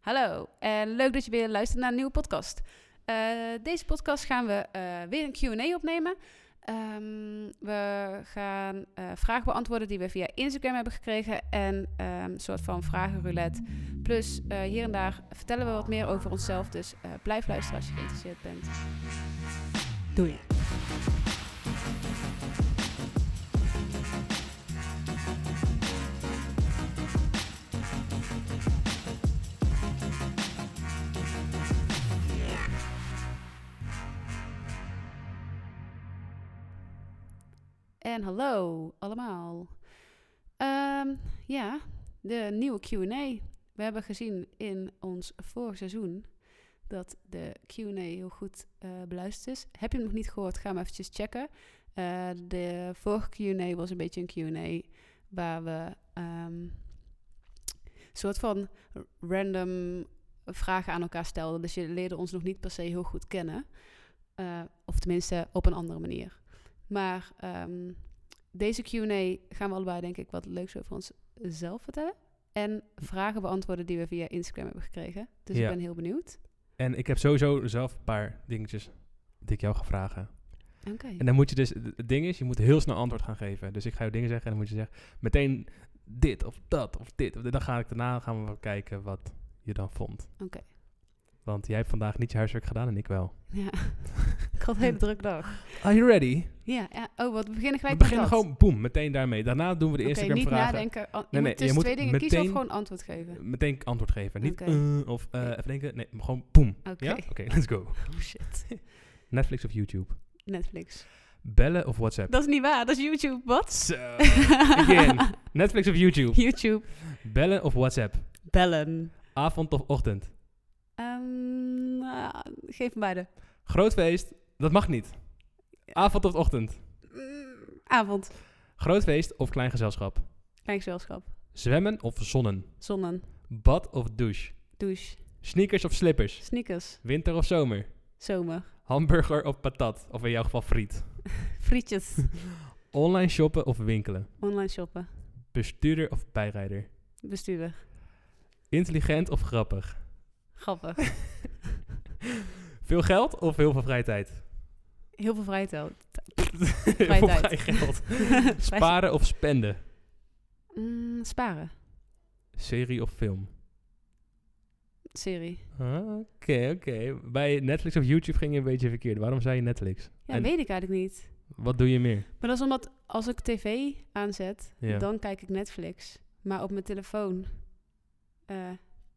Hallo en leuk dat je weer luistert naar een nieuwe podcast. Eh, deze podcast gaan we eh, weer een QA opnemen. Ehm, we gaan eh, vragen beantwoorden die we via Instagram hebben gekregen. En ehm, een soort van vragenroulette. Plus eh, hier en daar vertellen we wat meer over onszelf. Dus eh, blijf luisteren als je geïnteresseerd bent. Doei. En hallo allemaal. Ehm, ja, de nieuwe QA. We hebben gezien in ons vorig seizoen dat de QA heel goed eh, beluisterd is. Heb je hem nog niet gehoord? Ga hem eventjes checken. Eh, de vorige QA was een beetje een QA waar we ehm, een soort van random vragen aan elkaar stelden. Dus je leerde ons nog niet per se heel goed kennen. Eh, of tenminste op een andere manier. Maar ehm, deze QA gaan we allebei, denk ik, wat leuks over onszelf vertellen. En vragen beantwoorden die we via Instagram hebben gekregen. Dus Ja. ik ben heel benieuwd. En ik heb sowieso zelf een paar dingetjes die ik jou ga vragen. Oké. En dan moet je dus, het ding is, je moet heel snel antwoord gaan geven. Dus ik ga je dingen zeggen en dan moet je zeggen, meteen dit of dat of dit. Of dit. Dan ga ik daarna gaan we wel kijken wat je dan vond. Oké. Want jij hebt vandaag niet je huiswerk gedaan en ik wel. Ja. ik had een hele druk dag. Are you ready? Ja, ja. Oh, wat we beginnen gelijk We met beginnen dat. gewoon, boem, meteen daarmee. Daarna doen we de Oké, Instagram niet vragen. nadenken. An- je Nee, moet nee, je tussen moet twee dingen kiezen of meteen- gewoon antwoord geven. Meteen antwoord geven. Niet Oké. eh, of eh, Oké. even denken. Nee, gewoon boem. Oké. Ja? Oké, let's go. Oh shit. Netflix of YouTube? Netflix. Bellen of WhatsApp? Dat is niet waar, dat is YouTube. Wat? Zo. Again. Netflix of YouTube? YouTube. Bellen of WhatsApp? Bellen. Avond of ochtend? Ehm, ah, geef me beide. Groot feest? Dat mag niet. Avond of ochtend? Mm, Avond. Groot feest of klein gezelschap? Klein gezelschap. Zwemmen of zonnen? Zonnen. Bad of douche? Douche. Sneakers of slippers? Sneakers. Winter of zomer? Zomer. Hamburger of patat? Of in jouw geval friet? Frietjes. Online shoppen of winkelen? Online shoppen. Bestuurder of bijrijder? Bestuurder. Intelligent of grappig? Grappig. Veel geld of heel veel vrije tijd? Heel veel vrije tijd. Heel veel vrij geld. Sparen of spenden? Mm, sparen. Serie of film? Serie. Ah, Oké, oké. Bij Netflix of YouTube ging je een beetje verkeerd. Waarom zei je Netflix? Ja, En- weet ik eigenlijk niet. Wat doe je meer? Maar dat is omdat als ik tv aanzet, Ja. dan kijk ik Netflix. Maar op mijn telefoon eh,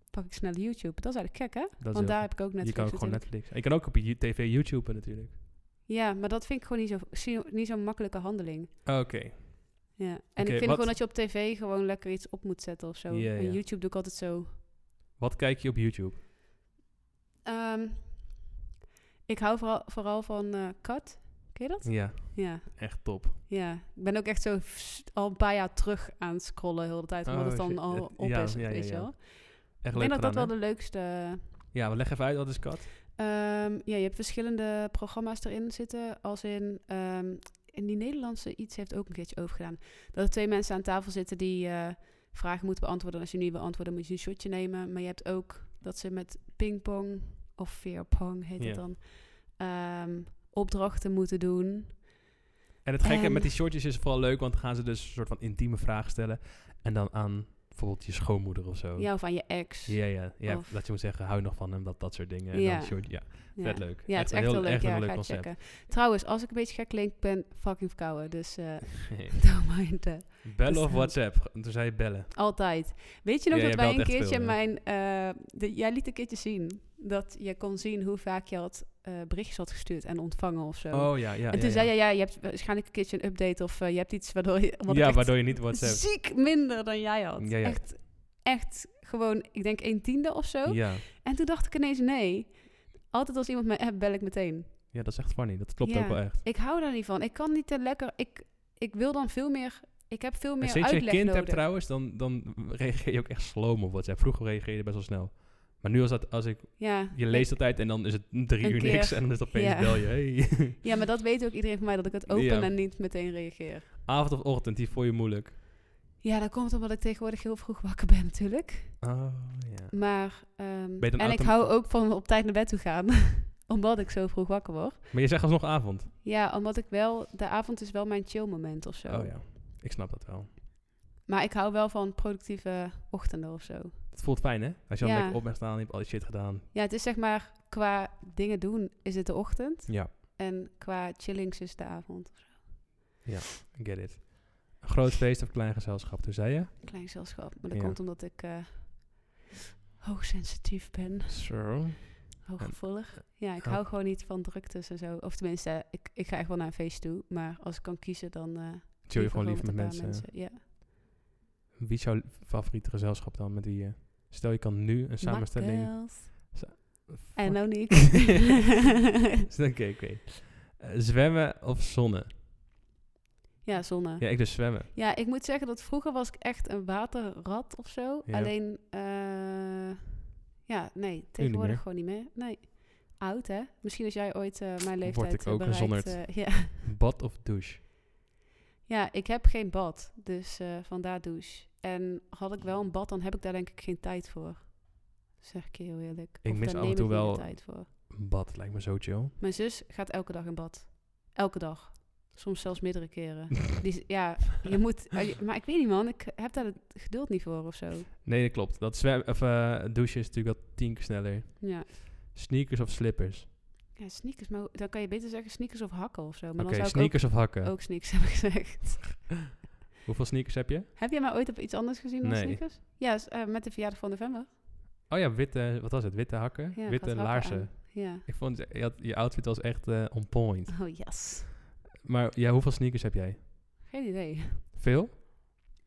pak ik snel YouTube. Dat is eigenlijk gek, hè? Dat is heel Want daar goed. heb ik ook Netflix je kan ook gewoon natuurlijk. Netflix. Je kan ook op je ju- tv YouTuben natuurlijk. Ja, maar dat vind ik gewoon niet zo'n zo zie- niet zo'n makkelijke handeling. Oké. Ja. En Oké, ik vind wat- gewoon dat je op tv gewoon lekker iets op moet zetten of zo. Ja, en ja. YouTube doe ik altijd zo. Wat kijk je op YouTube? Ehm, ik hou vooral, vooral van eh Kat. Ken je dat? Ja, Ja. echt top. Ja, ik ben ook echt zo f- al een paar jaar terug aan het scrollen heel de hele tijd, omdat Oh, het dan shit. al Het- op ja, is, ja, ja, weet je ja. wel. Echt Ik leuk denk dat dat wel gedaan, de leukste... hè? Ja, maar leg even uit, wat is kat? Ehm, ja, je hebt verschillende programma's erin zitten, als in... ehm, en die Nederlandse iets heeft ook een keertje overgedaan. Dat er twee mensen aan tafel zitten die eh, vragen moeten beantwoorden. En als je niet wil antwoorden, moet je een shotje nemen. Maar je hebt ook dat ze met pingpong, of veerpong heet Ja. het dan, ehm, opdrachten moeten doen. En het gekke Ehm. met die shortjes is vooral leuk, want dan gaan ze dus een soort van intieme vragen stellen. En dan aan bijvoorbeeld je schoonmoeder of zo. Ja, of aan je ex. Oh. Ja, ja, ja Of- dat je moet zeggen, hou je nog van hem, dat, dat soort dingen. En Ja. dan short, ja, Ja. vet leuk. Ja, het is een echt heel- heel leuk. echt een ja, leuk ga het concept. checken. Trouwens, als ik een beetje gek klink, ben fucking verkouden. Dus eh don't mind that. bellen Dus, of eh, WhatsApp? Toen zei je bellen. Altijd. Weet je nog Ja, dat jij wij een belt echt keertje veel, ja. mijn... eh, de- jij liet een keertje zien dat je kon zien hoe vaak je had eh, berichtjes had gestuurd en ontvangen of zo. Oh ja, ja. en toen ja, zei ja. je, ja, je hebt waarschijnlijk een keertje een update of eh, je hebt iets waardoor je... wat ik ja, echt waardoor je niet WhatsApp. ziek minder dan jij had. Ja, ja. Echt, echt gewoon, ik denk een tiende of zo. Ja. En toen dacht ik ineens, nee. Altijd als iemand mij appt, bel ik meteen. ja, dat is echt funny. Dat klopt Ja. ook wel echt. Ik hou daar niet van. Ik kan niet te lekker. Ik, ik wil dan veel meer. Ik heb veel En meer sinds je een uitleg kind hebt nodig. trouwens, dan, dan reageer je ook echt sloom op WhatsApp. Vroeger reageerde je best wel snel. Maar nu als, dat, als ik, ja. je leest altijd en dan is het drie Een uur keer. niks en dan is het opeens Ja. bel je. Hey. ja, maar dat weet ook iedereen van mij dat ik het open Ja. en niet meteen reageer. Avond of ochtend, die vond je moeilijk. Ja, dat komt omdat ik tegenwoordig heel vroeg wakker ben natuurlijk. Oh, ja. Maar, ehm, je dan en ik autom- hou ook van op tijd naar bed toe gaan. omdat ik zo vroeg wakker word. Maar je zegt alsnog avond. Ja, omdat ik wel... De avond is wel mijn chill moment of zo. Oh ja, ik snap dat wel. Maar ik hou wel van productieve ochtenden of zo. Het voelt fijn, hè? Als je dan Ja. lekker op bent staan en je hebt al die shit gedaan. Ja, het is zeg maar... Qua dingen doen is het de ochtend. Ja, En qua chillings is de avond. I get it. Een groot feest of klein gezelschap, toen zei je? Klein gezelschap. Maar dat Ja. komt omdat ik eh, hoogsensitief ben. Zo. Hooggevoelig. Ja, ik oh. hou gewoon niet van druktes en zo. Of tenminste, eh, ik, ik ga echt wel naar een feest toe. Maar als ik kan kiezen, dan... eh, Chill je gewoon liever met een mensen. paar Ja. Wie is jouw favoriete gezelschap dan? Met wie je... Stel, je kan nu een samenstelling... Makkels. Sa- En nou niet. Oké, oké. Eh, zwemmen of zonnen? ja, zonne. Ja, ik dus zwemmen. Ja, ik moet zeggen dat vroeger was ik echt een waterrat of zo. Ja. Alleen, eh, ja, nee, tegenwoordig meer. gewoon niet meer. Nee, oud hè. Misschien als jij ooit eh, mijn leeftijd ik eh, ook bereikt. gezonderd. eh, ja. Bad of douche? ja, ik heb geen bad, dus eh, vandaar douche. En had ik wel een bad, dan heb ik daar denk ik geen tijd voor. Zeg ik je heel eerlijk. Ik Of mis daar af en neem toe ik niet wel- de tijd voor. Bad lijkt me zo chill. Mijn zus gaat elke dag in bad. Elke dag. Soms zelfs meerdere keren. Die, is- ja, je moet... Maar ik weet niet man, ik heb daar het geduld niet voor of zo. Nee, dat klopt. Dat zwem, of, eh, douchen is natuurlijk wel tien keer sneller. Ja. Sneakers of slippers? Ja, sneakers, maar hoe- dan kan je beter zeggen sneakers of hakken of zo. Maar Oké, dan zou sneakers of hakken? ik ook, ook sneakers hebben gezegd. Hoeveel sneakers heb je? Heb jij mij ooit op iets anders gezien dan Nee. sneakers? Ja, is, eh, met de verjaardag van november. Oh ja, witte, wat was het? Witte hakken? Ja, witte gaat hakken laarzen. aan. Ja. Ik vond, eh, je, had, je outfit was echt eh, on point. Oh, yes. Maar ja, hoeveel sneakers heb jij? Geen idee. Veel?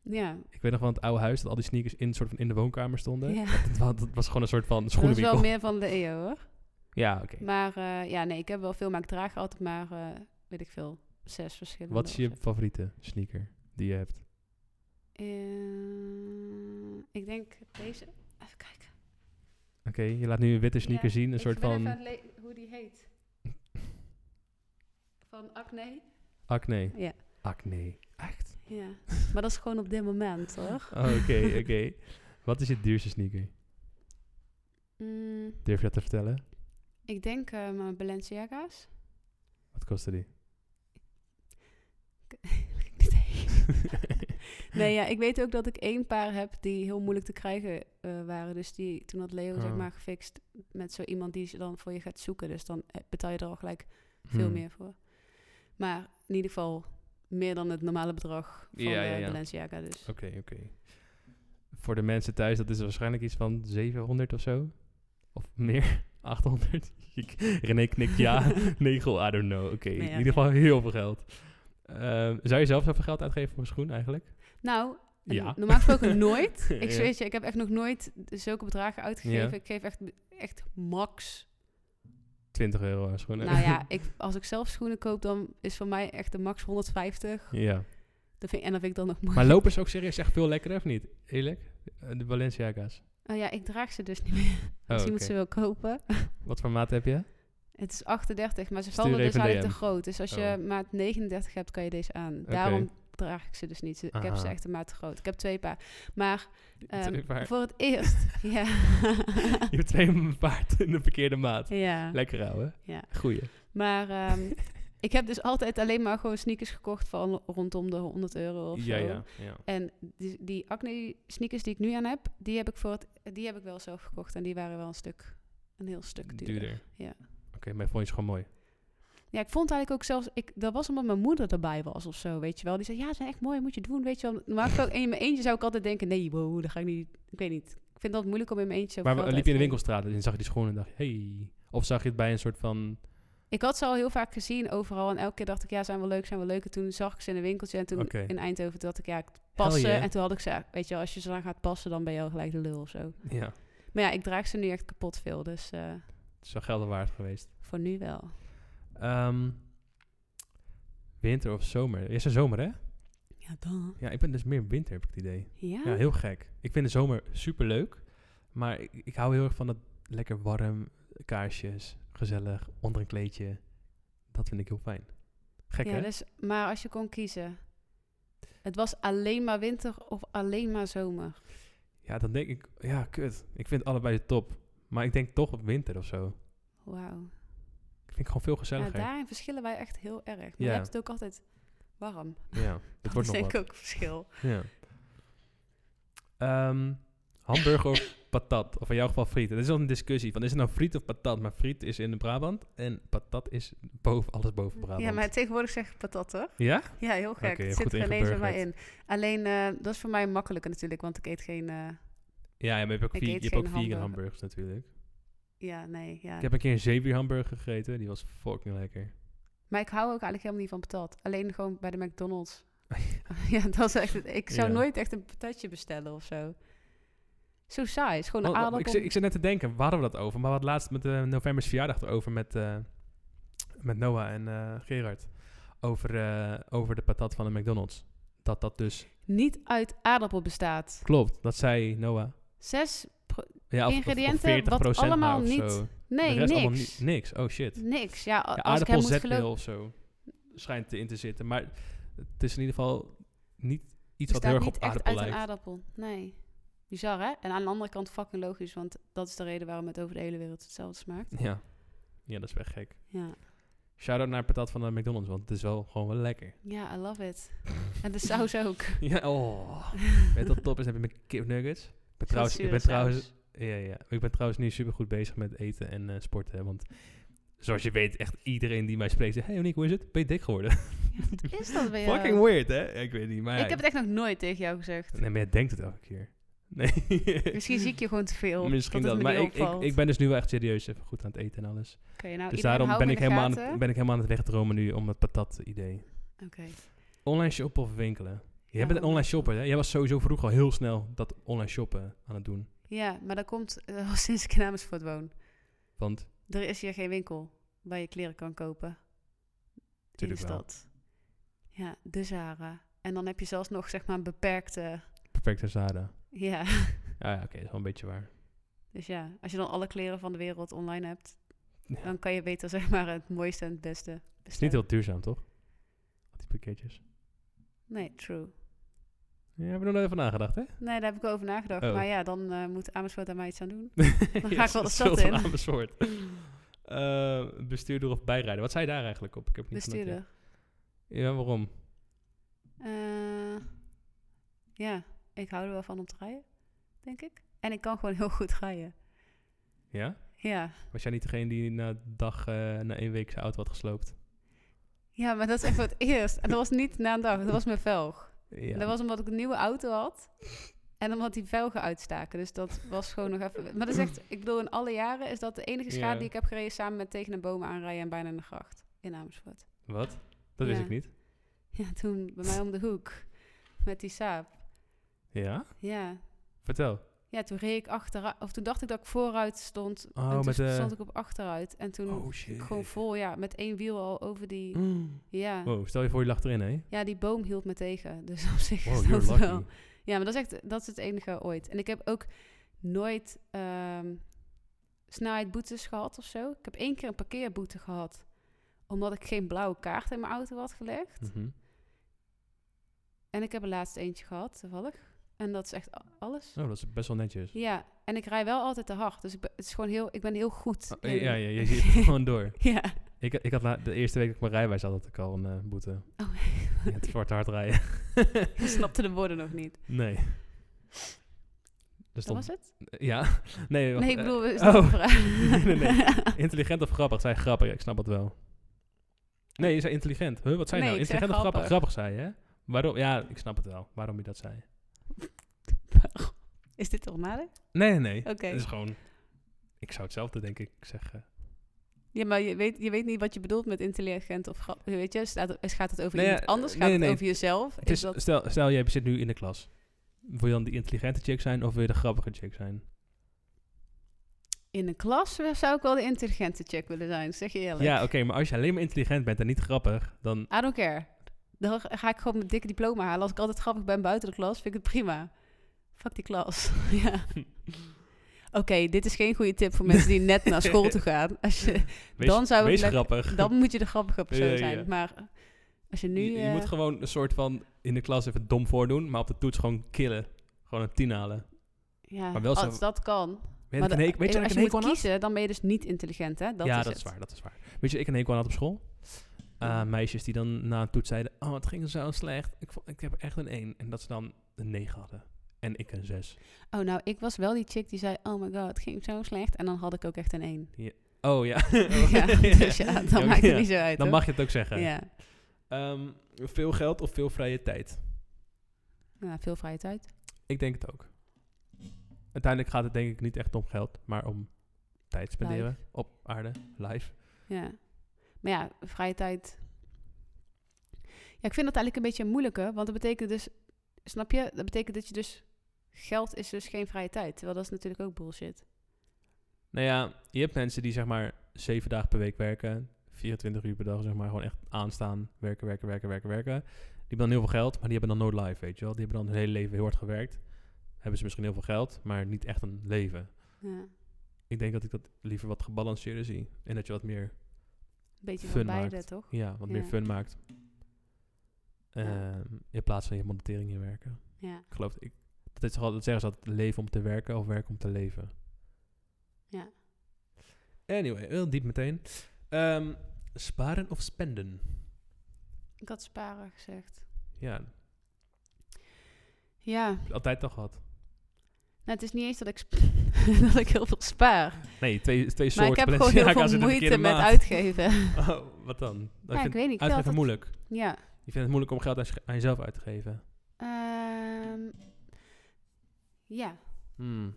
Ja. Ik weet nog van het oude huis dat al die sneakers in, soort van in de woonkamer stonden. ja. Dat, wa- dat was gewoon een soort van Dat is wel schoenenwinkel. meer van de EO, hoor. Ja, oké. Maar eh, ja, nee, ik heb wel veel, maar ik draag altijd maar, eh, weet ik veel, zes verschillende. Wat is of je zo. favoriete sneaker die je hebt? Eh, ik denk deze. Even kijken. Oké, je laat nu een witte sneaker Ja, zien. Een soort ik ben even van aan het le- hoe die heet. Van Acne. acne. Ja. Acne. Echt? Ja, maar dat is gewoon op dit moment, hoor. Oh, Oké, oké. Wat is je duurste sneaker? Mm, Durf je dat te vertellen? ik denk eh, mijn Balenciaga's. Wat kostte die? Nee, ja, ik weet ook dat ik één paar heb die heel moeilijk te krijgen eh, waren. Dus die, toen had Leo, zeg Oh. maar, gefixt met zo iemand die ze dan voor je gaat zoeken. Dus dan eh, betaal je er al gelijk veel Hmm. meer voor. Maar in ieder geval meer dan het normale bedrag van Ja, de ja, ja. Balenciaga. Dus. Oké, oké. Voor de mensen thuis, dat is waarschijnlijk iets van 700 of zo. Of meer. 800. Ik- René knikt ja. 9, I don't know. Oké, ja, in ieder geval heel veel geld. Ehm, zou je zelf zoveel geld uitgeven voor een schoen eigenlijk? Nou, Ja. normaal gesproken nooit. Ja. Ik zweer het je, ik heb echt nog nooit zulke bedragen uitgegeven. Ja. Ik geef echt, echt max 20 euro aan schoenen. Nou ja, ik, als ik zelf schoenen koop, dan is voor mij echt de max 150. ja. Dat vind, en dat vind ik dan nog mooi. Maar lopen ze ook serieus echt veel lekkerder of niet? Eerlijk? Eh, De Balenciaga's. Oh ja, ik draag ze dus niet meer. Oh, Als iemand oké. ze wil kopen. Wat voor maat heb je? Het is 38, maar ze Stuur vallen dus even eigenlijk DM. te groot. Dus als je Oh. maat 39 hebt, kan je deze aan. Daarom draag ik ze dus niet. Ze- Ik heb ze Aha. echt een maat te groot. Ik heb twee paar. Maar ehm, Twee paar. voor het eerst. ja. Je hebt twee paard in de verkeerde maat. ja. Lekker ouwe. Ja. Goeie. Maar ehm, ik heb dus altijd alleen maar gewoon sneakers gekocht van rondom de 100 euro of zo. Ja, ja, ja. En die, die acne sneakers die ik nu aan heb, die heb ik, voor het, die heb ik wel zelf gekocht. En die waren wel een stuk, een heel stuk duurder. Ja. Oké, maar vond je ze gewoon mooi? Ja, ik vond eigenlijk ook zelfs, ik, dat was omdat mijn moeder erbij was of zo, weet je wel. Die zei, ja, ze zijn echt mooi, moet je doen, weet je wel. Normaal gesproken, en in mijn eentje zou ik altijd denken, nee, wow, dat ga ik niet, ik weet niet. Ik vind dat moeilijk om in mijn eentje zo Maar we- liep je in de winkelstraat en zag je die schoenen en dacht je, hey. Of zag je het bij een soort van... Ik had ze al heel vaak gezien overal. En elke keer dacht ik, ja, zijn wel leuk, zijn wel leuk. En toen zag ik ze in een winkeltje. En toen Oké. in Eindhoven dacht ik, ja, ik passen. yeah. En toen had ik ze, weet je wel, als je ze dan gaat passen, dan ben je al gelijk de lul of zo. Ja, Maar ja, ik draag ze nu echt kapot veel, dus... eh, het is wel gelden waard geweest. Voor nu wel. Ehm, winter of zomer? Is er zomer, hè? Ja, dan. Ja, ik ben dus meer winter, heb ik het idee. Ja? Ja, heel gek. Ik vind de zomer super leuk. Maar ik, ik hou heel erg van dat lekker warm, kaarsjes, gezellig, onder een kleedje. Dat vind ik heel fijn. Gek, Ja, hè? dus, maar als je kon kiezen. Het was alleen maar winter of alleen maar zomer. Ja, dan denk ik, ja, kut. Ik vind allebei de top. Maar ik denk toch op winter of zo. Wauw. Ik vind het gewoon veel Ja, gezelliger. Ja, daarin verschillen wij echt heel erg. Maar Ja. je hebt het ook altijd warm. het Dat wordt is nog denk wat. ik ook verschil. Ja. Ehm, hamburger of patat? Of in jouw geval friet. Dat is al een discussie. Van, is het nou friet of patat? Maar friet is in de Brabant. En patat is boven, alles boven Brabant. Ja, maar tegenwoordig zeg ik patat hoor. Ja? Ja, heel gek. Oké, het goed zit er ineens bij mij in. ingeburgerd. Alleen, eh, dat is voor mij makkelijker natuurlijk, want ik eet geen... eh, Ja, ja, maar je hebt ook, Ik ve- je eet hebt ook geen vegan hamburger. hamburgers natuurlijk. ja, nee, ja. Ik heb een keer een zeewier hamburger gegeten. Die was fucking lekker. Maar ik hou ook eigenlijk helemaal niet van patat. Alleen gewoon bij de McDonald's. ja, dat is echt... het- Ik zou Ja. nooit echt een patatje bestellen of zo. Zo saai. Het is gewoon Want- een want aardappel. Oh, ik, zit- ik zit net te denken, waar hadden we dat over? Maar we hadden laatst met eh november's verjaardag erover met, eh, met Noah en eh, Gerard. Over, eh, over de patat van de McDonald's. Dat dat dus Niet uit aardappel bestaat. klopt. Dat zei Noah. Zes... pro- Ja, of- of- of Ingrediënten, 40% wat maar allemaal of niet- zo. Nee, de rest allemaal niks. ni- niks. Oh shit. Niks. Ja, a- Ja, als ik hem aardappel, moet geloven... zetmeel of zo schijnt erin te zitten. Maar het is in ieder geval niet iets wat bestaat heel erg niet op echt aardappel uit lijkt. een aardappel. Nee. Bizar, hè? En aan de andere kant fucking logisch, want dat is de reden waarom het over de hele wereld hetzelfde smaakt. Ja. ja, dat is wel gek. Ja, Shout-out naar patat van de McDonald's, want het is wel gewoon wel lekker. ja I love it. en de saus ook. Ja, oh. Weet je wat top is? Dan heb je mijn kipnuggets. Ik ben trouwens, ik Zure ben saus. trouwens, ja, ja. Ik ben trouwens nu super goed bezig met eten en eh, sporten. hè, Want zoals je weet, echt iedereen die mij spreekt zegt... Hey Monique, hoe is het? Ben je dik geworden? Ja, wat is dat weer? Fucking weird, hè? Ik weet niet, maar ja, Ik heb het echt nog nooit tegen jou gezegd. Nee, maar jij denkt het elke keer. Nee. Misschien zie ik je gewoon te veel. Misschien dat. dat. Het Maar me niet ik, ik, opvalt. ik ben dus nu wel echt serieus even goed aan het eten en alles. Oké, nou, dus iedereen daarom hou ben hem ik, in de helemaal aan gaten. het, ben ik helemaal aan het wegdromen nu om dat patat idee. Oké. Online shoppen of winkelen? Jij Ja, bent een want- online shopper, hè? Jij was sowieso vroeg al heel snel dat online shoppen aan het doen. Ja, maar dat komt eh, al sinds ik in Amersfoort woon. Want, Er is hier geen winkel waar je kleren kan kopen. in de Tuurlijk wel. stad. Ja, de Zara. En dan heb je zelfs nog zeg maar een beperkte. perfecte Zara. Ja. Ja, ja oké, dat is wel een beetje waar. Dus ja, als je dan alle kleren van de wereld online hebt, Ja. dan kan je beter zeg maar het mooiste en het beste Het is niet bestellen. heel duurzaam, toch? Al die pakketjes. Nee, true. Ja, we hebben er nog even nagedacht, hè? Nee, daar heb ik wel over nagedacht. Oh. Maar ja, dan eh, moet Amersfoort daar maar iets aan doen. Dan ga ik wel de stad in. soort. Eh, bestuurder of bijrijder. Wat zei je daar eigenlijk op? Ik heb het niet genoteerd. Bestuurder. Ja, waarom? Eh, ja, ik hou er wel van om te rijden, denk ik. En ik kan gewoon heel goed rijden. Ja? Ja. Was jij niet degene die na dag, eh, na één week zijn auto had gesloopt? ja, maar dat is echt voor het eerst. En dat was niet na een dag, dat was mijn velg. Ja. Dat was omdat ik een nieuwe auto had. En omdat die velgen uitstaken. Dus dat was gewoon nog even... Maar dat is echt... Ik bedoel, in alle jaren is dat de enige schade Ja. die ik heb gereden... samen met tegen een boom aanrijden en bijna in de gracht. In Amersfoort. Wat? Dat wist Ja. ik niet. Ja, toen bij mij om de hoek. Met die saap. Ja? Ja. Vertel. Ja, toen reed ik achteruit... Of toen dacht ik dat ik vooruit stond. Oh, en toen met oh, de- stond ik op achteruit. En toen shit. gewoon vol, ja. Met één wiel al over die... Mm. Ja. Wow, stel je voor je lag erin, hè? Ja, die boom hield me tegen. Dus op zich Wow, is dat you're wel... lucky. Ja, maar dat is echt dat is het enige ooit. En ik heb ook nooit ehm snelheidboetes gehad of zo. Ik heb één keer een parkeerboete gehad. Omdat ik geen blauwe kaart in mijn auto had gelegd. Mhm. En ik heb er laatst eentje gehad, toevallig. En dat is echt a- alles. Oh, dat is best wel netjes. Ja, en ik rij wel altijd te hard. Dus ik ben, het is gewoon heel, ik ben heel goed. Oh, in- ja, ja, je ziet het gewoon door. ja. Ik, ik had la- de eerste week dat ik mijn rijwijs had, had ik al een eh, boete. Oh, Ja, het zwarte hard rijden. ik snapte de woorden nog niet. Nee. Er Dat stond... was het? Ja? Nee, wacht, Nee, ik eh, bedoel, is oh. dat een vraag? Nee, nee, Intelligent of grappig? Zij grappig, ja, ik snap het wel. Nee, je zei intelligent. Huh, wat zei je Nee, nou? ik zei Intelligent of grappig. grappig? Grappig zei je, hè? Waarom? Ja, ik snap het wel. Waarom je dat zei. Is dit al nadenken? Nee, nee, nee. Oké. Het is gewoon... Ik zou hetzelfde, denk ik, zeggen. Ja, maar je weet, je weet niet wat je bedoelt met intelligent of grap. Weet je, staat, het- gaat het over Nee, iemand ja, anders? nee, Gaat nee. het over jezelf? Het is, dat... stel, stel, jij zit nu in de klas. Wil je dan die intelligente chick zijn of wil je de grappige chick zijn? In een klas zou ik wel de intelligente check willen zijn, zeg je eerlijk. Ja, oké, maar als je alleen maar intelligent bent en niet grappig, dan... I don't care. Dan ga ik gewoon mijn dikke diploma halen. Als ik altijd grappig ben buiten de klas, vind ik het prima. Fuck die klas. ja. Oké, dit is geen goede tip voor mensen die net naar school toe gaan. Als je, Wees, Dan zou ik wees lekker- grappig. dan moet je de grappige persoon Ja, ja, zijn. ja. Maar Als je nu... je, je eh, moet gewoon een soort van in de klas even dom voordoen, maar op de toets gewoon killen. Gewoon een tien halen. ja, maar wel zo- als dat kan. Weet je Maar dat ik een de- eh, hekel- weet je dat als ik je moet een hekel aan had? kiezen, dan ben je dus niet intelligent, hè? Dat ja, is dat het. is waar, dat is waar. Weet je, ik een hekel aan had op school. Aan meisjes die dan na een toets zeiden, oh, het ging zo slecht. Ik, vo- ik heb echt een 1. En dat ze dan een 9 hadden. En ik een 6. Oh, nou, ik was wel die chick die zei, oh my god, het ging zo slecht. En dan had ik ook echt een 1. Oh ja. ja, dus ja, dan Ja, maakt het ja. niet zo uit, Dan hoor. mag je het ook zeggen. Ja. Ehm, veel geld of veel vrije tijd? Ja, veel vrije tijd. Ik denk het ook. Uiteindelijk gaat het denk ik niet echt om geld, maar om tijd spenderen op aarde, live. Ja. Maar ja, vrije tijd. Ja, ik vind dat eigenlijk een beetje moeilijker, want dat betekent dus, snap je? Dat betekent dat je dus, geld is dus geen vrije tijd. Terwijl dat is natuurlijk ook bullshit. Nou ja, je hebt mensen die zeg maar zeven dagen per week werken, 24 uur per dag zeg maar, gewoon echt aanstaan, werken, werken, werken, werken, werken. Die hebben dan heel veel geld, maar die hebben dan nooit live, weet je wel. Die hebben dan hun hele leven heel hard gewerkt. Hebben ze misschien heel veel geld, maar niet echt een leven. Ja, een Ik denk dat ik dat liever wat gebalanceerder zie. En dat je wat meer beetje Fun van beide, maakt. toch? Ja, wat Ja. meer fun maakt. Ja. Ehm, in plaats van je monetering in werken. Ja, Ik geloof, ik, dat, is toch altijd, dat zeggen ze altijd, leven om te werken of werken om te leven. Ja. Anyway, heel diep meteen. Ehm, sparen of spenden? ik had sparen gezegd. Ja, heb Ja, nou, je altijd al gehad. het is niet eens dat ik, sp- dat ik heel veel spaar. Nee, twee, twee Maar soorten ik heb mensen. gewoon heel Ja, ik veel had ze in de moeite verkeerde met maat. uitgeven. Oh, wat dan? Dat Ja, ik vind weet niet. Ik uitgeven vind altijd- moeilijk. Ja. Je vindt het moeilijk om geld aan, je- aan jezelf uit te geven. Ehm, ja. Hmm.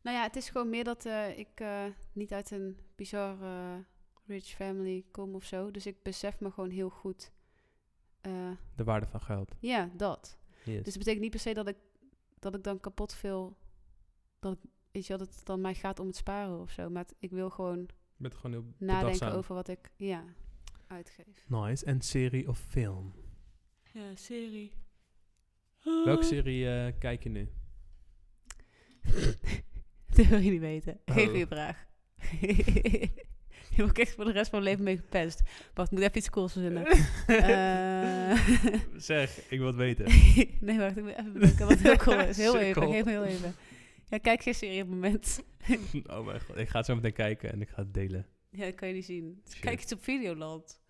Nou ja, het is gewoon meer dat eh, ik eh, niet uit een bizar eh, rich family kom of zo. Dus ik besef me gewoon heel goed. eh, De waarde van geld. ja, dat. Yes. Dus het betekent niet per se dat ik, dat ik dan kapot veel... Dat ik, weet je wel, dat het dan mij gaat om het sparen of zo. Maar het- ik wil gewoon je bent gewoon heel nadenken bedachtzaam. over wat ik ja, uitgeef. Nice. En serie of film? Ja, serie. Welke serie eh, kijk je nu? Dat wil je niet weten. Geen Oh. goede vraag. je wordt echt voor de rest van mijn leven mee gepest. Wacht, ik moet even iets cools verzinnen. Eh, zeg, ik wil het weten. nee, wacht, ik moet even bedenken wat heel cool is. Heel even, Sukkel. geef me heel even. Ja, kijk geen serie op het moment. oh mijn god, ik ga het zo meteen kijken en ik ga het delen. Ja, dat kan je niet zien. Shit. Kijk iets op Videoland.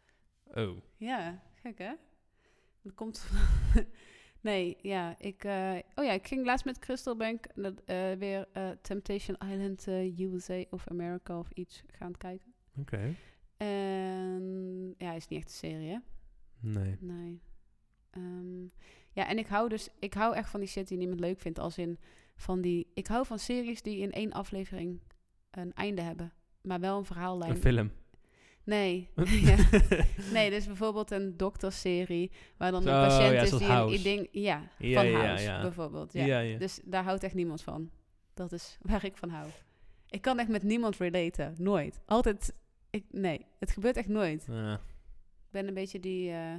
Oh, Ja, gek hè? Dat komt... nee, ja, ik... eh, oh ja, ik ging laatst met Crystal Bank dat, eh, weer eh, Temptation Island eh, USA of America of iets gaan kijken. oké. En ja, is niet echt een serie, hè? Nee. Nee. Ehm, ja, en ik hou dus, ik hou echt van die shit die niemand leuk vindt. Als in van die, ik hou van series die in één aflevering een einde hebben, maar wel een verhaallijn. Een film. Nee. ja. Nee, dus bijvoorbeeld een dokterserie waar dan Zo, een patiënt Oh, ja, is zoals die een House. i- ding, ja, Ja, van ja, House ja. bijvoorbeeld. Ja. ja, ja. Dus daar houdt echt niemand van. Dat is waar ik van hou. Ik kan echt met niemand relaten, nooit. Altijd, ik, nee, het gebeurt echt nooit. Ah. Ik ben een beetje die eh,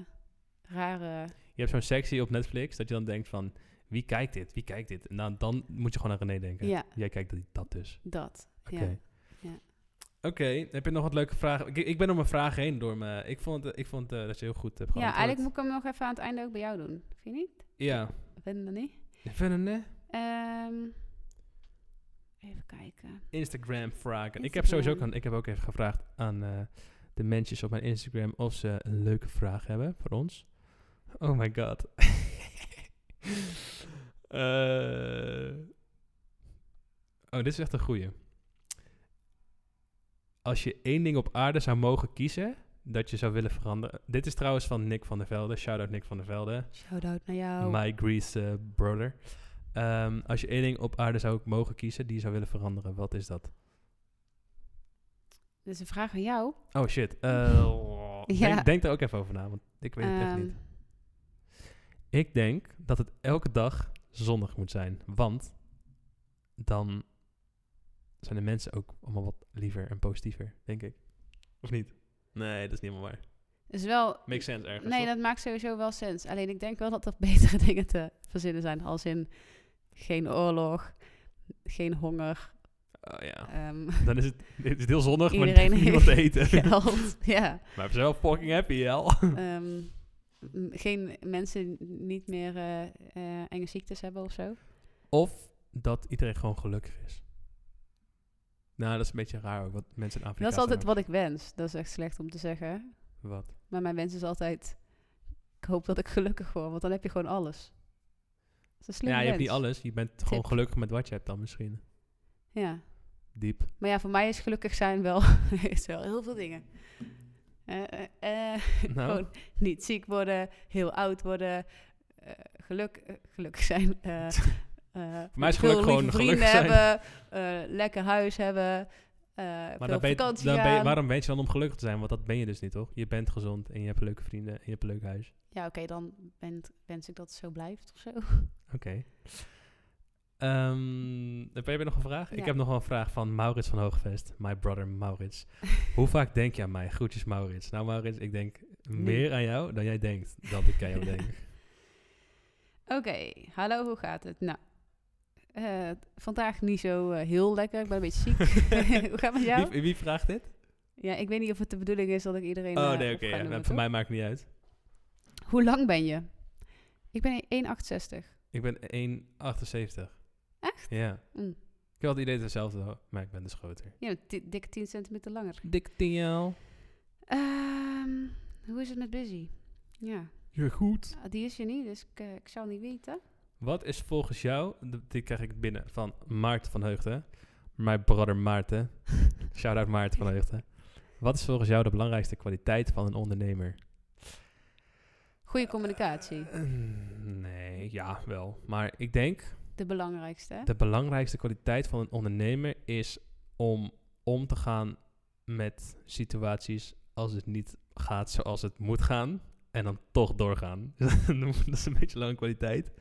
rare. je hebt zo'n sectie op Netflix dat je dan denkt van, wie kijkt dit? Wie kijkt dit? En dan, dan moet je gewoon aan René denken. Ja, Jij kijkt dat, dat dus. dat. Oké. Ja. Ja. Oké, heb je nog wat leuke vragen? Ik, ik ben om mijn vragen heen door me. Ik vond, het- ik vond eh, dat je heel goed hebt Ja, geantwoord. eigenlijk moet ik hem nog even aan het einde ook bij jou doen. Vind je niet? Ja. Ik weet het nog niet. Verder, nee? Ehm, even kijken. Instagram vragen. Ik heb sowieso ook, Instagram. aan- ik heb ook even gevraagd aan eh, de mensen op mijn Instagram of ze een leuke vraag hebben voor ons. Oh my god. Eh, oh, dit is echt een goeie. Als je één ding op aarde zou mogen kiezen dat je zou willen veranderen. Dit is trouwens van Nick van der Velde. Shout-out Nick van der Velde. Shout-out naar jou. My Greece eh, brother. Ehm, als je één ding op aarde zou mogen kiezen die je zou willen veranderen, wat is dat? Dit is een vraag aan jou. Oh shit. Eh, Ja. denk, denk daar ook even over na, want ik weet het echt Ehm, niet. Ik denk dat het elke dag zonnig moet zijn, want dan zijn de mensen ook allemaal wat liever en positiever, denk ik. Of niet? Nee, dat is niet helemaal waar. is wel. Makes sense ergens. Nee, toch? dat maakt sowieso wel sens. Alleen ik denk wel dat er betere dingen te verzinnen zijn. Als in geen oorlog, geen honger, Oh, ja. ehm, Dan is het, het is heel zonnig, maar Iedereen niemand te heeft eten. geld. Ja. Maar we zijn wel fucking happy, hel. Ehm, m- geen mensen niet meer eh, eh, enge ziektes hebben of zo. Of dat iedereen gewoon gelukkig is. Nou, dat is een beetje raar ook, wat mensen in Afrika dat is altijd zijn wat ik wens. Dat is echt slecht om te zeggen. ook- wat. Maar mijn wens is altijd, ik hoop dat ik gelukkig word, want dan heb je gewoon alles. Dat is een slimme Ja, je hebt wens. niet alles. Je bent gewoon gelukkig met wat je hebt dan misschien. Ja. Diep. Maar ja, voor mij is gelukkig zijn wel, is wel heel veel dingen. Eh, eh, eh, Nou, Gewoon niet ziek worden, heel oud worden, eh, geluk, eh, gelukkig zijn. eh, eh, mij is veel geluk gewoon lieve gelukkig vrienden zijn. hebben, eh, lekker huis hebben, eh maar veel dan ben je, vakantie dan ben je- gaan. waarom weet je dan om gelukkig te zijn? Want dat ben je dus niet, toch? Je bent gezond en je hebt leuke vrienden en je hebt een leuk huis. Ja, oké, dan bent, wens ik dat het zo blijft of zo. Oké. Ehm, heb jij nog een vraag? Ja. Ik heb nog wel een vraag van Maurits van Hoogvest. My brother Maurits. Hoe vaak denk je aan mij? Groetjes Maurits. Nou Maurits, ik denk meer aan jou dan jij denkt dat ik aan jou denk. Oké, hallo, hoe gaat het? Nou, eh, vandaag niet zo eh, heel lekker, ik ben een beetje ziek. hoe gaat het met jou? Wie, wie vraagt dit? Ja, ik weet niet of het de bedoeling is dat ik iedereen... oh eh, nee, op oké. ga ja. noemen, Nou, toch? voor mij maakt het niet uit. Hoe lang ben je? Ik ben 1,68. Ik ben 1,78. Echt? Ja. Mm. Ik had het idee dat het hetzelfde was, maar ik ben dus groter. Ja, di- dikke 10 centimeter langer. Dik tienjaal. Ehm, hoe is het met Busy? Ja, Ja, goed. ah, die is je niet, dus ik, eh, ik zal niet weten. Wat is volgens jou, d- dit krijg ik binnen van Maarten van Heugden, mijn brother Maarten. Shout-out Maarten van Heugden. Wat is volgens jou de belangrijkste kwaliteit van een ondernemer? Goede communicatie, Eh, nee, ja, wel. Maar ik denk, de belangrijkste. hè? de belangrijkste kwaliteit van een ondernemer is om om te gaan met situaties als het niet gaat zoals het moet gaan. En dan toch doorgaan. dat is een beetje lange kwaliteit.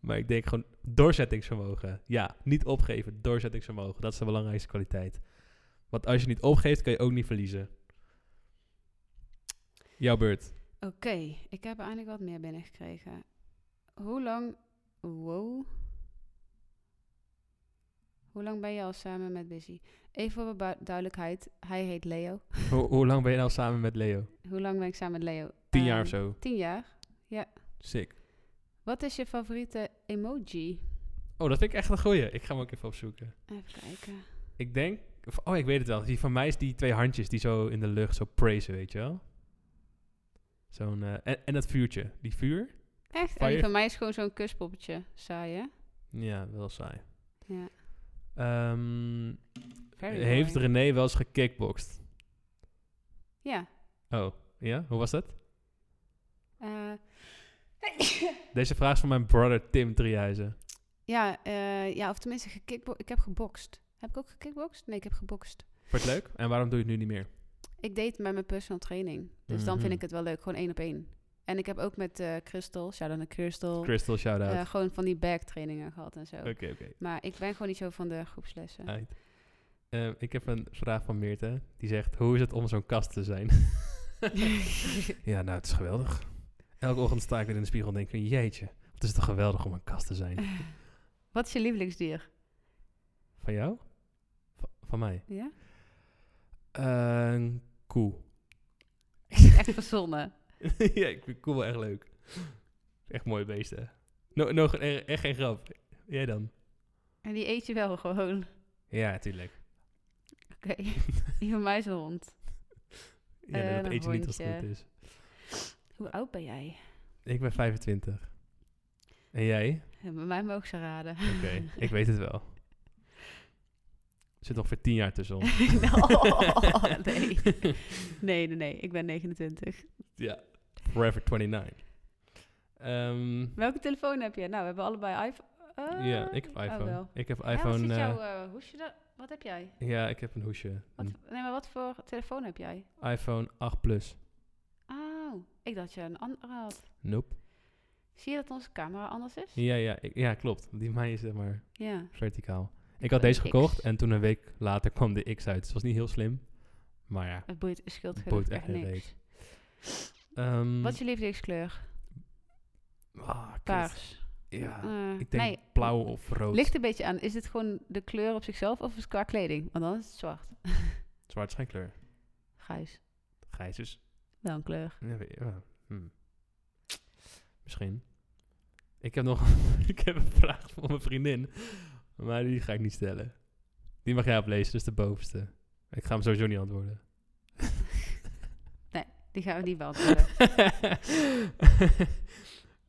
Maar ik denk gewoon doorzettingsvermogen. Ja, niet opgeven, doorzettingsvermogen. Dat is de belangrijkste kwaliteit. Want als je niet opgeeft, kan je ook niet verliezen. Jouw beurt. Oké, ik heb eindelijk wat meer binnengekregen. Hoe lang... Wow. Hoe lang ben je al samen met Busy? Even voor de bui- duidelijkheid, hij heet Leo. Ho- hoe lang ben je nou samen met Leo? Hoe lang ben ik samen met Leo? Tien jaar Ehm, of zo. Tien jaar. Sick. Wat is je favoriete emoji? Oh, dat vind ik echt een goeie. Ik ga hem ook even opzoeken. Even kijken. Ik denk... of- Oh, ik weet het wel. Die van mij is die twee handjes die zo in de lucht zo praisen, weet je wel? Zo'n... eh, en, en dat vuurtje. Die vuur? Echt? Fire- En die van mij is gewoon zo'n kuspoppetje. Saai, hè? Ja, wel saai. Ja. Ehm, Very heeft boring. René wel eens gekickboxed? Ja. Oh, ja? Hoe was dat? eh, Deze vraag is van mijn brother Tim Driehuizen. ja, eh, ja, of tenminste, gekickbo- ik heb gebokst. Heb ik ook gekickboxd? Nee, ik heb gebokst. Vond je het leuk? En waarom doe je het nu niet meer? Ik deed het met mijn personal training. Dus dan Mhm. vind ik het wel leuk, gewoon één op één. En ik heb ook met eh Crystal, shout-out naar Crystal, Crystal, shout-out. eh, gewoon van die backtrainingen gehad en zo. Oké, Eh. oké. Maar ik ben gewoon niet zo van de groepslessen. Aight. Ehm, ik heb een vraag van Meerte. Die zegt, hoe is het om zo'n kast te zijn? ja, nou, het is geweldig. Elke ochtend sta ik weer in de spiegel en denk ik, jeetje, wat is het toch geweldig om een kast te zijn. Wat is je lievelingsdier? Van jou? Va- van mij? Ja? Eh, Een koe. Echt verzonnen. ja, ik vind koe wel echt leuk. Echt mooie beesten. No, no, e- echt geen grap. Jij dan? En die eet je wel gewoon. Ja, tuurlijk. Oké. Die van mij is een hond. Ja, Eh, dat een eet je niet als het hondje. goed is. Hoe oud ben jij? Ik ben 25. En jij? Bij mij mogen ze raden. Oké, ik weet het wel. Er zit ongeveer 10 jaar tussen ons. Oh, nee. Nee, nee, nee. Ik ben 29. Forever 29. Ehm, Welke telefoon heb je? Nou, we hebben allebei iPhone. Eh, ja, ik heb oh, iPhone. wel. ik heb Ja, wat iPhone. zit eh, jouw eh, hoesje daar? Wat heb jij? ja, ik heb een hoesje. Wat, Een nee, maar wat voor telefoon heb jij? iPhone 8 Plus. Oh, ik dacht je een andere had. Nope. Zie je dat onze camera anders is? Ja, ja, ik- ja klopt. Die van mij is zeg maar Ja. verticaal. wil Ik had deze een X. gekocht en toen een week later kwam de X uit. Dus het was niet heel slim. Maar ja. Het boeit, scheelt Boeit gelukkig echt echt geen niks. ehm, Wat is je lievelingskleur? ah, kut. Paars. Ja, Eh, ah, ik denk nee, blauw of rood. Ligt een beetje aan. Is dit gewoon de kleur op zichzelf of is het qua kleding? Want dan is het zwart. Zwart is geen kleur. Grijs. Grijs is... Wel een kleur. Ja, weet je- ja, hm. Misschien. Ik heb nog ik heb een vraag voor mijn vriendin. Maar die ga ik niet stellen. Die mag jij oplezen, dat is de bovenste. Ik ga hem sowieso niet antwoorden. Die gaan we niet beantwoorden.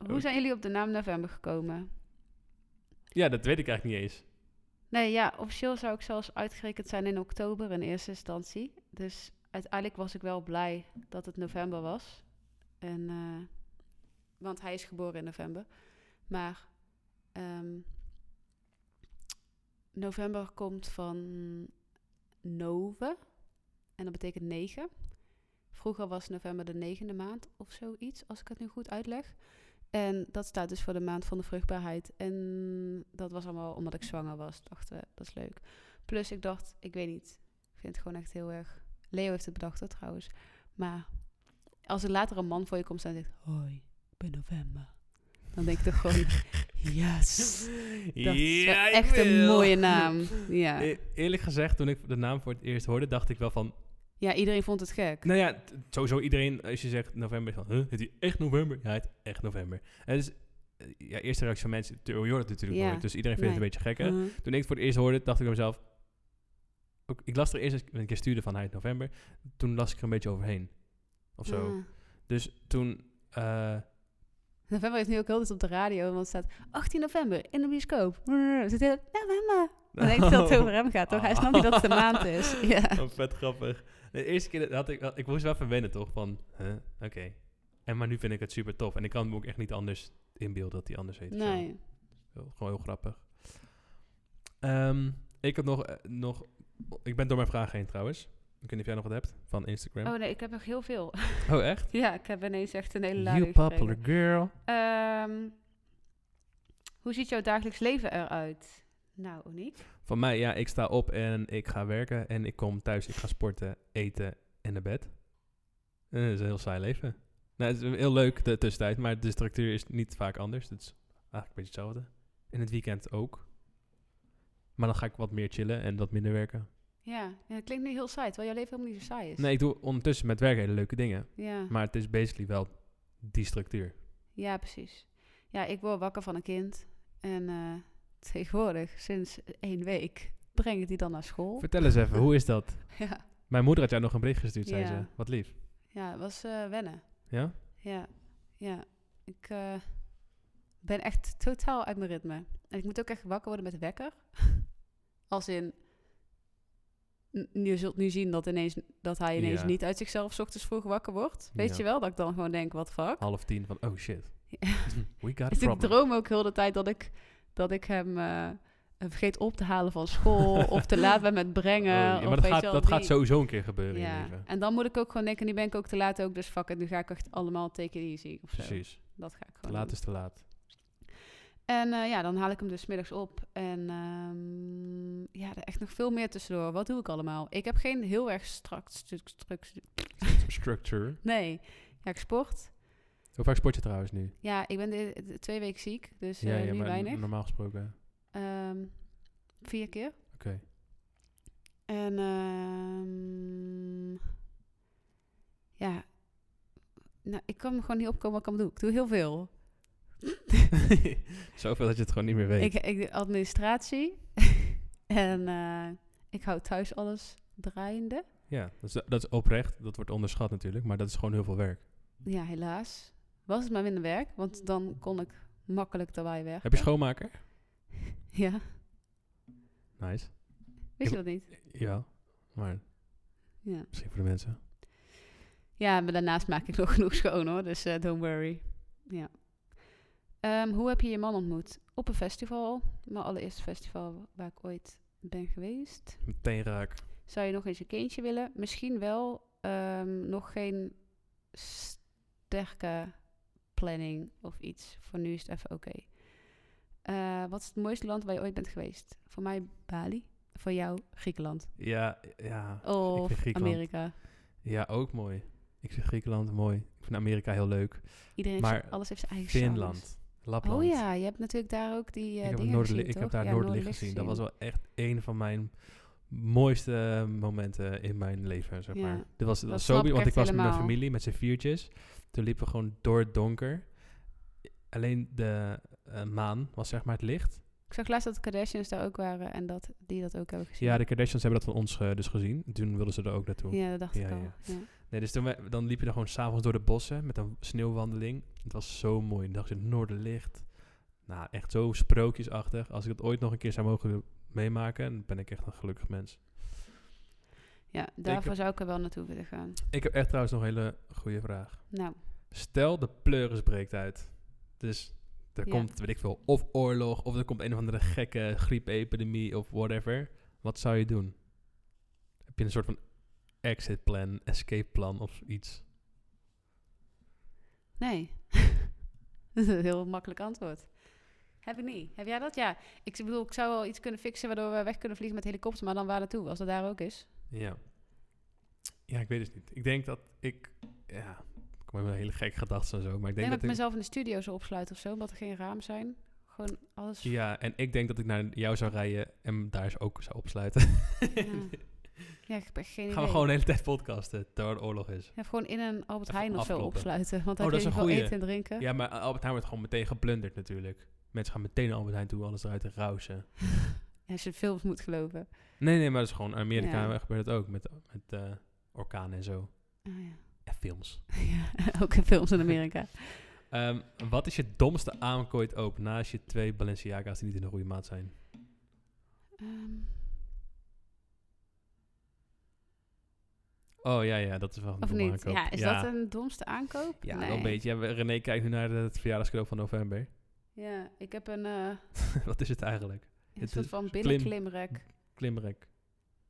Hoe zijn jullie op de naam november gekomen? ja, dat weet ik eigenlijk niet eens. Nee, ja, officieel zou ik zelfs uitgerekend zijn in oktober in eerste instantie. Dus uiteindelijk was ik wel blij dat het november was. En, eh, want hij is geboren in november. Maar ehm, november komt van nove. En dat betekent negen. Vroeger was november de negende maand of zoiets, als ik het nu goed uitleg. En dat staat dus voor de maand van de vruchtbaarheid. En dat was allemaal omdat ik zwanger was. Dachten, dat is leuk. Plus ik dacht, ik weet niet. Ik vind het gewoon echt heel erg... Leo heeft het bedacht hoor, trouwens. Maar als er later een man voor je komt staan en zegt... Hoi, ik ben november. Dan denk ik toch gewoon, yes. Dat is wel Ja, ik echt een wil. mooie naam. Ja. E- eerlijk gezegd, toen ik de naam voor het eerst hoorde, dacht ik wel van... ja, iedereen vond het gek. Nou ja, t- sowieso iedereen, als je zegt november, is van... Huh, heet hij echt november? Ja, hij heet echt november. En dus, eh, ja, eerste reactie van mensen, je hoort het natuurlijk Ja. nooit. Dus iedereen Nee. vindt Mm. het een beetje gek, hè? Huh? Toen ik het voor het eerst hoorde, dacht ik bij mezelf... Ook, ik las er eerst eens- een keer stuurde van hij heet november. Toen las ik er een beetje overheen. Of zo. Ah. Dus toen... eh, November is nu ook heel altijd op de radio, want het staat 18 november in de bioscoop. Brrr, Zit heel november. Dan denk ik dat het over hem gaat, toch? Hij snapt niet dat het de maand is. Ja. Oh, vet grappig. De eerste keer dat had ik... Ik moest wel even wennen, toch? Van, huh? oké. En maar nu vind ik het super tof. En ik kan me ook echt niet anders inbeelden dat hij anders heet. of zo. Nee. Heel- Gewoon heel grappig. Ehm, ik heb nog, eh, nog... Ik ben door mijn vragen heen, trouwens. Ik weet niet of jij nog wat hebt van Instagram. Oh nee, ik heb nog heel veel. Oh, echt? Ja, ik heb ineens echt een hele You lading popular gekregen. girl. Ehm, hoe ziet jouw dagelijks leven eruit? Nou, Oniek. Van mij, ja, ik sta op en ik ga werken. En ik kom thuis, ik ga sporten, eten en naar bed. En dat is een heel saai leven. Nou, het is heel leuk de tussentijd, maar de structuur is niet vaak anders. Het is eigenlijk een beetje hetzelfde. In het weekend ook. Maar dan ga ik wat meer chillen en wat minder werken. Ja, ja, dat klinkt nu heel saai, terwijl jouw leven helemaal niet zo saai is. Nee, ik doe ondertussen met werk hele leuke dingen. Ja. Maar het is basically wel die structuur. Ja, precies. Ja, ik word wakker van een kind. En eh, tegenwoordig, sinds één week, breng ik die dan naar school. Vertel eens even, hoe is dat? Ja, Mijn moeder had jou nog een bericht gestuurd, zei Ja. ze. Wat lief. ja het was eh, wennen. Ja? Ja, ja. Ik eh, ben echt totaal uit mijn ritme. En ik moet ook echt wakker worden met wekker. Als in, n- je zult nu zien dat, ineens, dat hij ineens Ja. niet uit zichzelf 's ochtends vroeg wakker wordt. Weet Ja. je wel, dat ik dan gewoon denk, wat fuck. Half tien van, oh shit. Ja. We got a Dus ik problem. droom ook heel de tijd dat ik, dat ik hem eh, vergeet op te halen van school. of te laat ben met brengen. Oh, ja, of maar weet dat, je gaat, wel, dat die- gaat sowieso een keer gebeuren in je Ja, leven. en dan moet ik ook gewoon denken, nu ben ik ook te laat ook. Dus fuck it, nu ga ik echt allemaal take it easy of zo. Precies. Dat ga ik Te gewoon laat doen. is te laat. En eh, ja, dan haal ik hem dus 's middags op. En ehm, ja, er echt nog veel meer tussendoor. Wat doe ik allemaal? Ik heb geen heel erg strak stuk. Structure. Nee. Ja, ik sport. Hoe vaak sport je trouwens nu? Ja, ik ben de- de- twee weken ziek, dus eh, nu maar weinig. n- normaal gesproken. Ehm, vier keer. Oké. En ehm, ja, nou, ik kan me gewoon niet opkomen wat ik allemaal doe. Ik doe heel veel. Zoveel dat je het gewoon niet meer weet. Ik, ik doe administratie en eh, ik hou thuis alles draaiende. Ja, dat is, dat is oprecht. Dat wordt onderschat natuurlijk, maar dat is gewoon heel veel werk. Ja, helaas. Was het maar minder werk, want dan kon ik makkelijk daarbij weg. Heb je schoonmaker? Ja, Nice. wist je dat niet? Ja, maar Ja. misschien voor de mensen. ja, maar daarnaast maak ik nog genoeg schoon hoor, dus eh, don't worry. Ja. Ehm, hoe heb je je man ontmoet? Op een festival, mijn allereerste festival waar ik ooit ben geweest. Meteen raak. Zou je nog eens een kindje willen? Misschien wel. ehm, nog geen sterke planning of iets. Voor nu is het even oké. Eh, wat is het mooiste land waar je ooit bent geweest? Voor mij Bali. Voor jou Griekenland. Ja, ja. Of vind Griekenland- Amerika. Ja, ook mooi. Ik vind Griekenland mooi. Ik vind Amerika heel leuk. Iedereen heeft Maar zijn- alles heeft zijn eigen charmes. Finland. Lapland. Oh ja, je hebt natuurlijk daar ook die eh ik, heb dingen Noorderli- gezien, ik heb toch? daar Ja, Noorderlicht gezien. Dat was wel echt een van mijn mooiste eh, momenten in mijn leven, zeg Ja. maar. Dit was, Dat dat was snap zo bi- ik want ik echt was met mijn helemaal. familie, met z'n viertjes. Toen liepen we gewoon door het donker. alleen de eh, maan was zeg maar het licht. Ik zag laatst dat de Kardashians daar ook waren en dat die dat ook hebben gezien. Ja, de Kardashians hebben dat van ons eh, dus gezien. Toen wilden ze er ook naartoe. Ja, dat dacht Ja, ik al. ja. Ja. Nee, dus toen wij- dan liep je dan gewoon s'avonds door de bossen met een sneeuwwandeling. Het was zo mooi. En dan dacht je, het noorderlicht. Nou, echt zo sprookjesachtig. Als ik het ooit nog een keer zou mogen meemaken, dan ben ik echt een gelukkig mens. Ja, daarvoor zou ik er wel naartoe willen gaan. Ik heb echt trouwens nog een hele goede vraag. Nou, Stel, de pleuris breekt uit. Dus er Ja. komt, weet ik veel, of oorlog, of er komt een of andere gekke griepepidemie of whatever. Wat zou je doen? Heb je een soort van exit plan, escape plan of iets? nee. dat is een heel makkelijk antwoord. Heb ik niet. Heb jij dat? Ja. Ik bedoel, ik zou wel iets kunnen fixen waardoor we weg kunnen vliegen met helikopter, maar dan waar naartoe, als dat daar ook is. Ja. Ja, ik weet het niet. Ik denk dat ik... Ja, ik kom met een hele gekke gedachten en zo. Maar ik Ik denk denk dat ik dat ik... mezelf in de studio zou opsluiten of zo, omdat er geen raam zijn. Gewoon alles. Ja, en ik denk dat ik naar jou zou rijden en daar eens ook zou opsluiten. Ja, Ja, ik heb echt geen idee. Gaan we gewoon de hele tijd podcasten, terwijl er oorlog is. Ja, of gewoon in een Albert Even Heijn of zo afkloppen. opsluiten. Want dan Oh, kun dat je is in ieder een geval eten goeie. en drinken. Ja, maar Albert Heijn wordt gewoon meteen geplunderd natuurlijk. Mensen gaan meteen naar Albert Heijn toe, alles eruit te rausen. Als je de films moet geloven. Nee, nee, maar dat is gewoon... in Amerika Ja. gebeurt het ook, met, met eh, orkanen en zo. Ah, ja. En films. ja, ook in films in Amerika. Ehm, wat is je domste aankooit ook, naast je twee Balenciaga's die niet in de goede maat zijn? Ehm, Oh ja, ja, dat is wel een of domme niet? aankoop. Ja, is dat een domste aankoop? Ja, Nee. wel een beetje. Ja, we- René kijkt nu naar het verjaardagscadeau van november. Ja, ik heb een, eh, Wat is het eigenlijk? een Het soort is van klim- binnenklimrek. Klimrek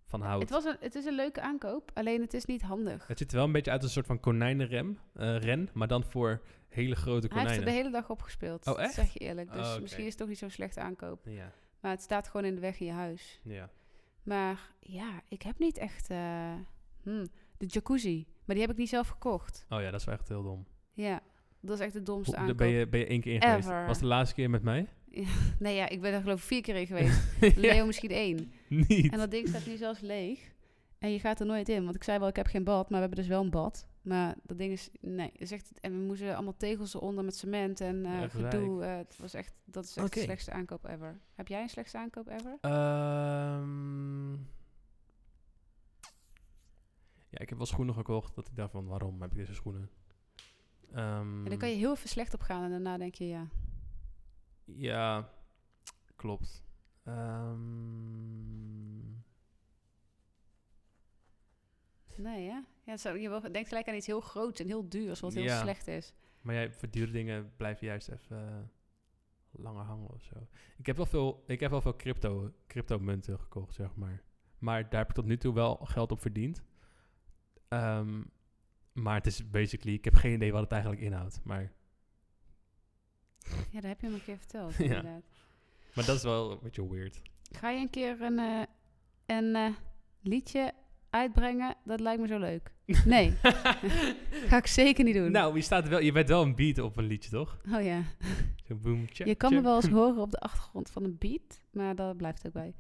van hout. Het, was een, het is een leuke aankoop, alleen het is niet handig. Het ziet er wel een beetje uit als een soort van konijnenrem, eh, ren, maar dan voor hele grote Hij heeft konijnen. er de hele dag op gespeeld. Oh, dat echt? zeg je eerlijk. Dus Oh, oké. misschien is het toch niet zo'n slechte aankoop. Ja, Maar het staat gewoon in de weg in je huis. ja. Maar ja, ik heb niet echt... eh, hmm, de jacuzzi. Maar die heb ik niet zelf gekocht. Oh ja, dat is wel echt heel dom. Ja, dat is echt de domste Hoe- daar aankoop. ben je, ben je één keer in geweest? Ever. Was de laatste keer met mij? Nee, ja, ik ben er geloof ik vier keer in geweest. Ja, Leo misschien één. Niet. En dat ding staat nu zelfs leeg. En je gaat er nooit in. Want ik zei wel, ik heb geen bad. Maar we hebben dus wel een bad. Maar dat ding is... Nee, het is echt... En we moesten allemaal tegels eronder met cement en eh, Echt gedoe. Eh, het was echt... Dat is echt Oké. de slechtste aankoop ever. Heb jij een slechtste aankoop ever? Ehm, ja, ik heb wel schoenen gekocht. Dat ik dacht van, waarom heb ik deze schoenen? Ehm, En dan kan je heel even slecht op gaan. En daarna denk je, ja... Ja, klopt. Ehm, Nee, ja. ja het zou, je wel- denkt gelijk aan iets heel groots en heel duurs, wat heel Ja. slecht is. maar jij, voor dure dingen blijf je juist even eh, langer hangen of zo. Ik heb wel veel, ik heb wel veel crypto, cryptomunten gekocht, zeg maar. Maar daar heb ik tot nu toe wel geld op verdiend. Ehm, maar het is basically, ik heb geen idee wat het eigenlijk inhoudt. Maar, Ja, dat heb je me een keer verteld, Ja. inderdaad. maar dat is wel een beetje weird. Ga je een keer een, eh, een eh, liedje uitbrengen? Dat lijkt me zo leuk. Nee. Ga ik zeker niet doen. nou, je, staat wel, je bent wel een beat op een liedje, toch? Oh ja. Zo boom, tja, Je kan me tja. wel eens horen op de achtergrond van een beat, maar dat blijft ook bij.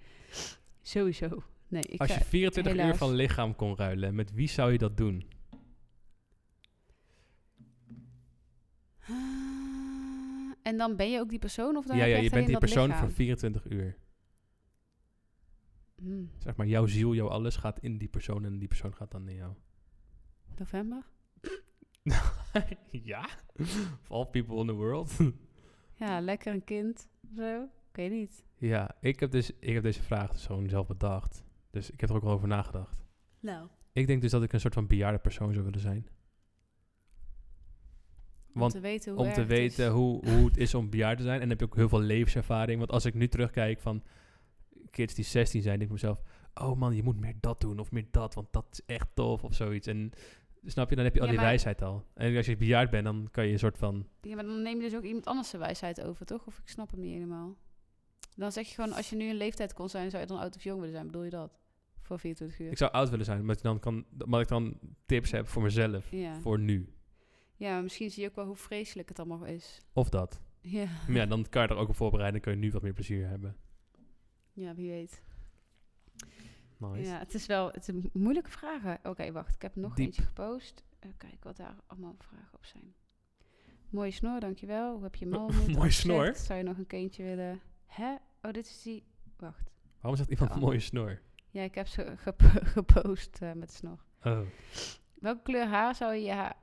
Sowieso. Nee, ik Als je ga- 24 uur helaas. van lichaam kon ruilen, met wie zou je dat doen? Ah, En dan ben je ook die persoon of dan ja, heb ja, echt je bent alleen die dat persoon lichaam? van 24 uur. Hmm, Zeg maar, jouw ziel, jouw alles gaat in die persoon en die persoon gaat dan in jou. november? ja? Of all people in the world? Ja, lekker een kind of zo. Ik weet niet. ja, ik heb, dus, ik heb deze vraag dus gewoon zelf bedacht. Dus ik heb er ook wel over nagedacht. Nou. Ik denk dus dat ik een soort van bejaarde persoon zou willen zijn. om Want te weten hoe om te erg het is. weten hoe, hoe het is om bejaard te zijn. En dan heb je ook heel veel levenservaring. Want als ik nu terugkijk van kids die 16 zijn, denk ik mezelf... Oh man, je moet meer dat doen of meer dat, want dat is echt tof of zoiets. En snap je, dan heb je al Ja, die maar- wijsheid al. En als je bejaard bent, dan kan je een soort van... Ja, maar dan neem je dus ook iemand anders zijn wijsheid over, toch? Of ik snap hem niet helemaal. Dan zeg je gewoon, als je nu een leeftijd kon zijn, zou je dan oud of jong willen zijn? Bedoel je dat? Voor 24 uur? Ik zou oud willen zijn, maar dan kan, omdat ik dan tips heb voor mezelf, Ja. voor nu. ja, maar misschien zie je ook wel hoe vreselijk het allemaal is. Of dat. Ja, Maar ja, dan kan je er ook op voorbereiden. Dan kun je nu wat meer plezier hebben. ja wie weet. Nice. Ja, het is wel het zijn moeilijke vragen. Oké, wacht. Ik heb nog Diep. eentje gepost. Kijk wat daar allemaal vragen op zijn. Mooie snor, dankjewel. Hoe heb je mal Mooie Mooi snor? Zou je nog een kindje willen? Hè? Oh, dit is die... Wacht. Waarom zegt iemand Ja. een mooie snor? Ja, ik heb ze gep- gepost eh, met snor. Oh. Welke kleur haar zou je haar...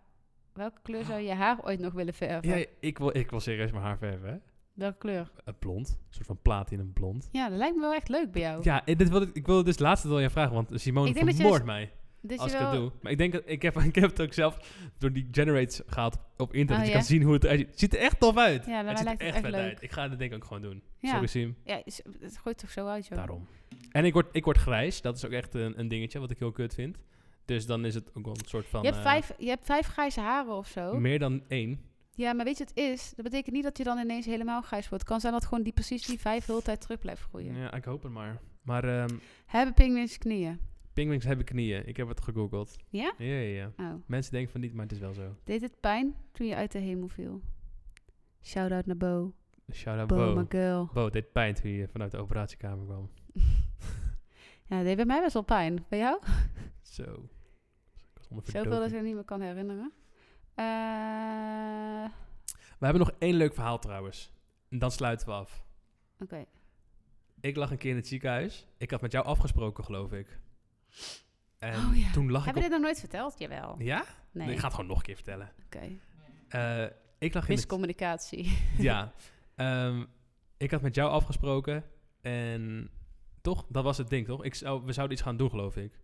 Welke kleur zou je haar ooit nog willen verven? Ja, ik wil, ik wil serieus mijn haar verven, hè? Welke kleur? Eh, blond. Een soort van platinum blond. Ja, dat lijkt me wel echt leuk bij jou. Ja, eh, dit wil ik, ik wilde dus laatst wel aan je vragen, want Simone Oh. Ik denk dat je vermoordt mij Dus als je ik wel... dat doe. Maar ik denk dat ik heb, ik heb het ook zelf door die generates gehaald op internet. Oh, je ja? kan zien hoe het eruit ziet. Het ziet er echt tof uit. Ja, het dat ziet lijkt er me echt echt vet leuk. uit. Ik ga dit denk ik ook gewoon doen. Ja. Sorry Sim, Ja, is- het gooit toch zo uit, joh. daarom. En ik word, ik word grijs, dat is ook echt een, een dingetje wat ik heel kut vind. Dus dan is het ook wel een soort van... je, hebt eh, vijf, je hebt vijf grijze haren of zo. Meer dan één. Ja, maar weet je wat het is? Dat betekent niet dat je dan ineens helemaal grijs wordt. Het kan zijn dat gewoon die, precies die vijf de hele tijd terug blijft groeien. Ja, ik hoop het maar. Maar ehm Hebben pinguïns knieën? pingwings hebben knieën. Ik heb het gegoogeld. Ja? Ja, ja, ja. Oh. Mensen denken van niet, maar het is wel zo. Deed het pijn toen je uit de hemel viel? Shout-out naar Bo. Shout-out Bo, Bo. my girl. Bo, het deed pijn toen je vanuit de operatiekamer kwam. Ja, dat deed bij mij best wel pijn. Bij jou? Zo. Ik was onder Zoveel dat ik verdoving. me niet meer kan herinneren. Eh, We hebben nog één leuk verhaal trouwens. En dan sluiten we af. Oké. Ik lag een keer in het ziekenhuis. Ik had met jou afgesproken, geloof ik. En Oh ja. toen lag ik Hebben we dit op... nog nooit verteld? Jawel. Ja? Nee. Ik ga het gewoon nog een keer vertellen. Oké. Eh, ik lag in het... Miscommunicatie. ja. Ehm, ik had met jou afgesproken en toch, dat was het ding, toch? Ik zou, we zouden iets gaan doen, geloof ik.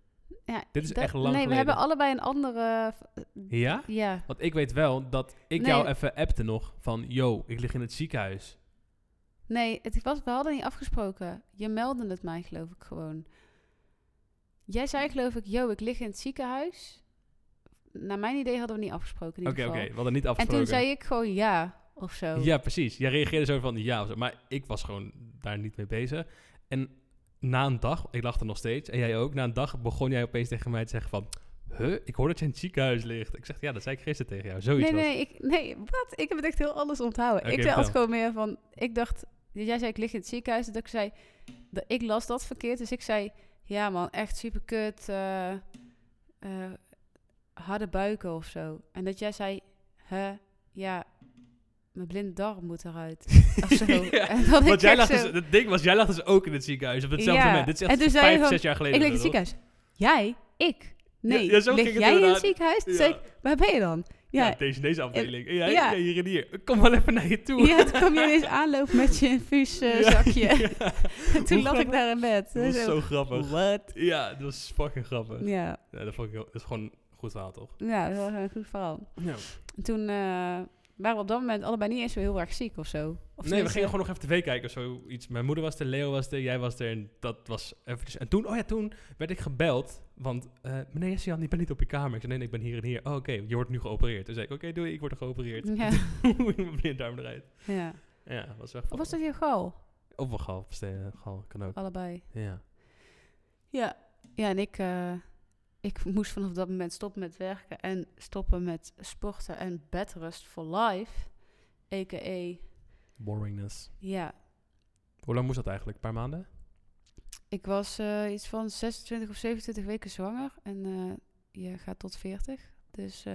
Ja, Dit is dat- echt lang Nee, we geleden. hebben allebei een andere... eh, Ja? Ja. Want ik weet wel dat ik Nee. jou even appte nog van... Yo, ik lig in het ziekenhuis. Nee, het was, we hadden niet afgesproken. Je meldde het mij, geloof ik, gewoon. Jij zei, geloof ik, yo, ik lig in het ziekenhuis. Naar mijn idee hadden we niet afgesproken. in Oké, ieder oké. geval. we hadden niet En afgesproken. toen zei ik gewoon ja, of zo. Ja, precies. Jij reageerde zo van ja of zo. Maar ik was gewoon daar niet mee bezig. En na een dag, ik lag er nog steeds, en jij ook, na een dag begon jij opeens tegen mij te zeggen van... Huh, ik hoor dat je in het ziekenhuis ligt. Ik zeg, ja, dat zei ik gisteren tegen jou. Zoiets nee, was. nee, ik, nee, wat? Ik heb het echt heel anders onthouden. Oké, ik dacht vertel. gewoon meer van... Ik dacht... Jij zei, ik lig in het ziekenhuis. Dat ik zei... Dat ik las dat verkeerd. Dus ik zei... Ja, man, echt super kut. harde buiken of zo. En dat jij zei... Hè? Ja... Mijn blinde darm moet eruit. Of zo. Ja, en dan Want ik jij echt lag zo, dus, het ding was, jij lag dus ook in het ziekenhuis op hetzelfde Ja. moment. Dit is echt En toen zei je vijf, gewoon, zes jaar Ik geleden. lig in het of zo, toch? ziekenhuis. Jij? Ik? Nee. Ja, ja, zo lig ging het jij in het inderdaad. ziekenhuis? Toen zei ik, waar ben je dan? Ja, Ja, deze, deze afdeling. En jij, ja. ja. hier en hier. Kom wel even naar je toe. Ja, toen kwam je ineens aanlopen met je Ja, infuuszakje. ja. En toen Hoe lag ik grappig. daar in bed. Dat was Zo, zo grappig. Wat? Ja, dat was fucking grappig. Ja, Ja, dat, vond ik heel, dat is gewoon een goed verhaal, toch? ja, dat was een goed verhaal. Ja. En toen eh, waren we op dat moment allebei niet eens zo heel erg ziek of zo. Of nee, we tenminste- gingen gewoon nog even tv kijken of zoiets. Mijn moeder was er, Leo was er, jij was er en dat was eventjes. En toen, oh ja, toen werd ik gebeld, want eh meneer Sian, ik ben niet op je kamer. Ik zei, nee, nee, ik ben hier en hier. Oh, oké, je wordt nu geopereerd. Toen zei ik, oké, doei, ik word geopereerd. Ja. Hoe mijn blinddarm eruit. Ja. Ja, dat was wel Of was dat Oh. je gal? Of een gal, steen- gal, kan ook. Allebei. Ja. Ja. Ja, en ik, eh, ik moest vanaf dat moment stoppen met werken en stoppen met sporten en bedrust for life. A.k.a. Boringness. Ja, Hoe lang moest dat eigenlijk? Een paar maanden? ik was eh, iets van 26 of 27 weken zwanger en eh, je gaat tot 40. Dus... eh,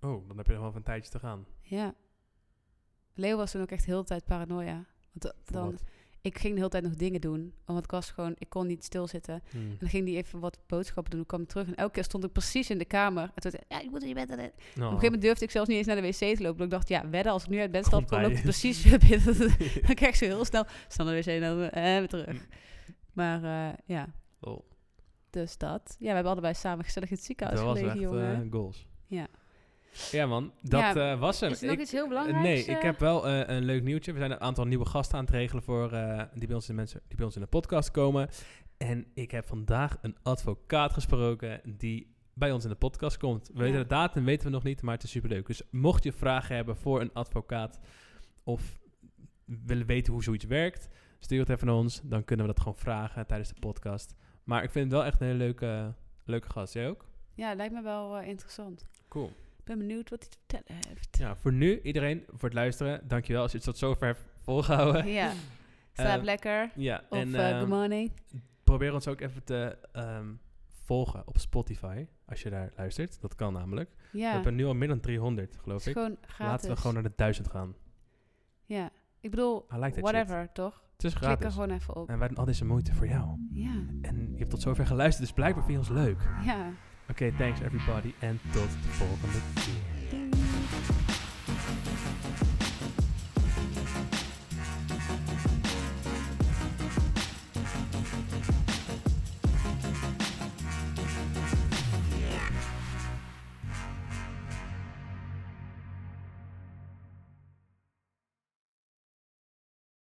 Oh, dan heb je nog wel even een tijdje te gaan. Ja. Leo was toen ook echt heel de tijd paranoia. Want da- Voor dan, wat? ik ging de hele tijd nog dingen doen. Want ik was gewoon, ik kon niet stilzitten. En Hmm. dan ging hij even wat boodschappen doen. Ik kwam terug en elke keer stond ik precies in de kamer. En toen zei hij, ja, ik moet in je bed. en- en- Op een Oh. gegeven moment durfde ik zelfs niet eens naar de wc te lopen. want Ik dacht, ja, wedden, als ik nu uit bed Komt stap, kom, bij loopt je. het precies weer binnen. dan krijg ik zo heel snel, snel naar de wc en dan eh, weer terug. Maar eh, ja, Oh, dus dat. Ja, we hebben allebei samen gezellig in het dat ziekenhuis was gelegen, echt jongen. eh, goals. Ja. Ja man, dat Ja, eh, was hem. Is er nog Ik- iets heel Eh, belangrijks? Nee, ik eh? heb wel eh, een leuk nieuwtje. We zijn een aantal nieuwe gasten aan het regelen voor eh, die, bij ons in de mensen, die bij ons in de podcast komen. En ik heb vandaag een advocaat gesproken die bij ons in de podcast komt. We Ja. weten de datum, weten we nog niet, maar het is superleuk. Dus mocht je vragen hebben voor een advocaat of willen weten hoe zoiets werkt, stuur het even naar ons. Dan kunnen we dat gewoon vragen tijdens de podcast. Maar ik vind het wel echt een hele leuke, leuke gast. Jij ook? Ja, lijkt me wel eh, interessant. Cool. Ik ben benieuwd wat hij te vertellen heeft. Ja, voor nu iedereen voor het luisteren. Dankjewel als je het tot zover hebt volgehouden. Ja. Slaap Eh, lekker. Ja, Of en eh, ehm, good morning. probeer ons ook even te ehm, volgen op Spotify, als je daar luistert. Dat kan namelijk. We Ja, hebben nu al meer dan 300, het geloof is ik. gewoon gratis. Laten we gewoon naar de 1000 gaan. Ja, ik bedoel, I like that shit. whatever, toch? Het is Klik er gratis. gewoon even op. En wij doen al deze moeite voor jou. Ja, En je hebt tot zover geluisterd, dus blijkbaar vind je ons leuk. Oké, ja. thanks everybody en tot de volgende keer.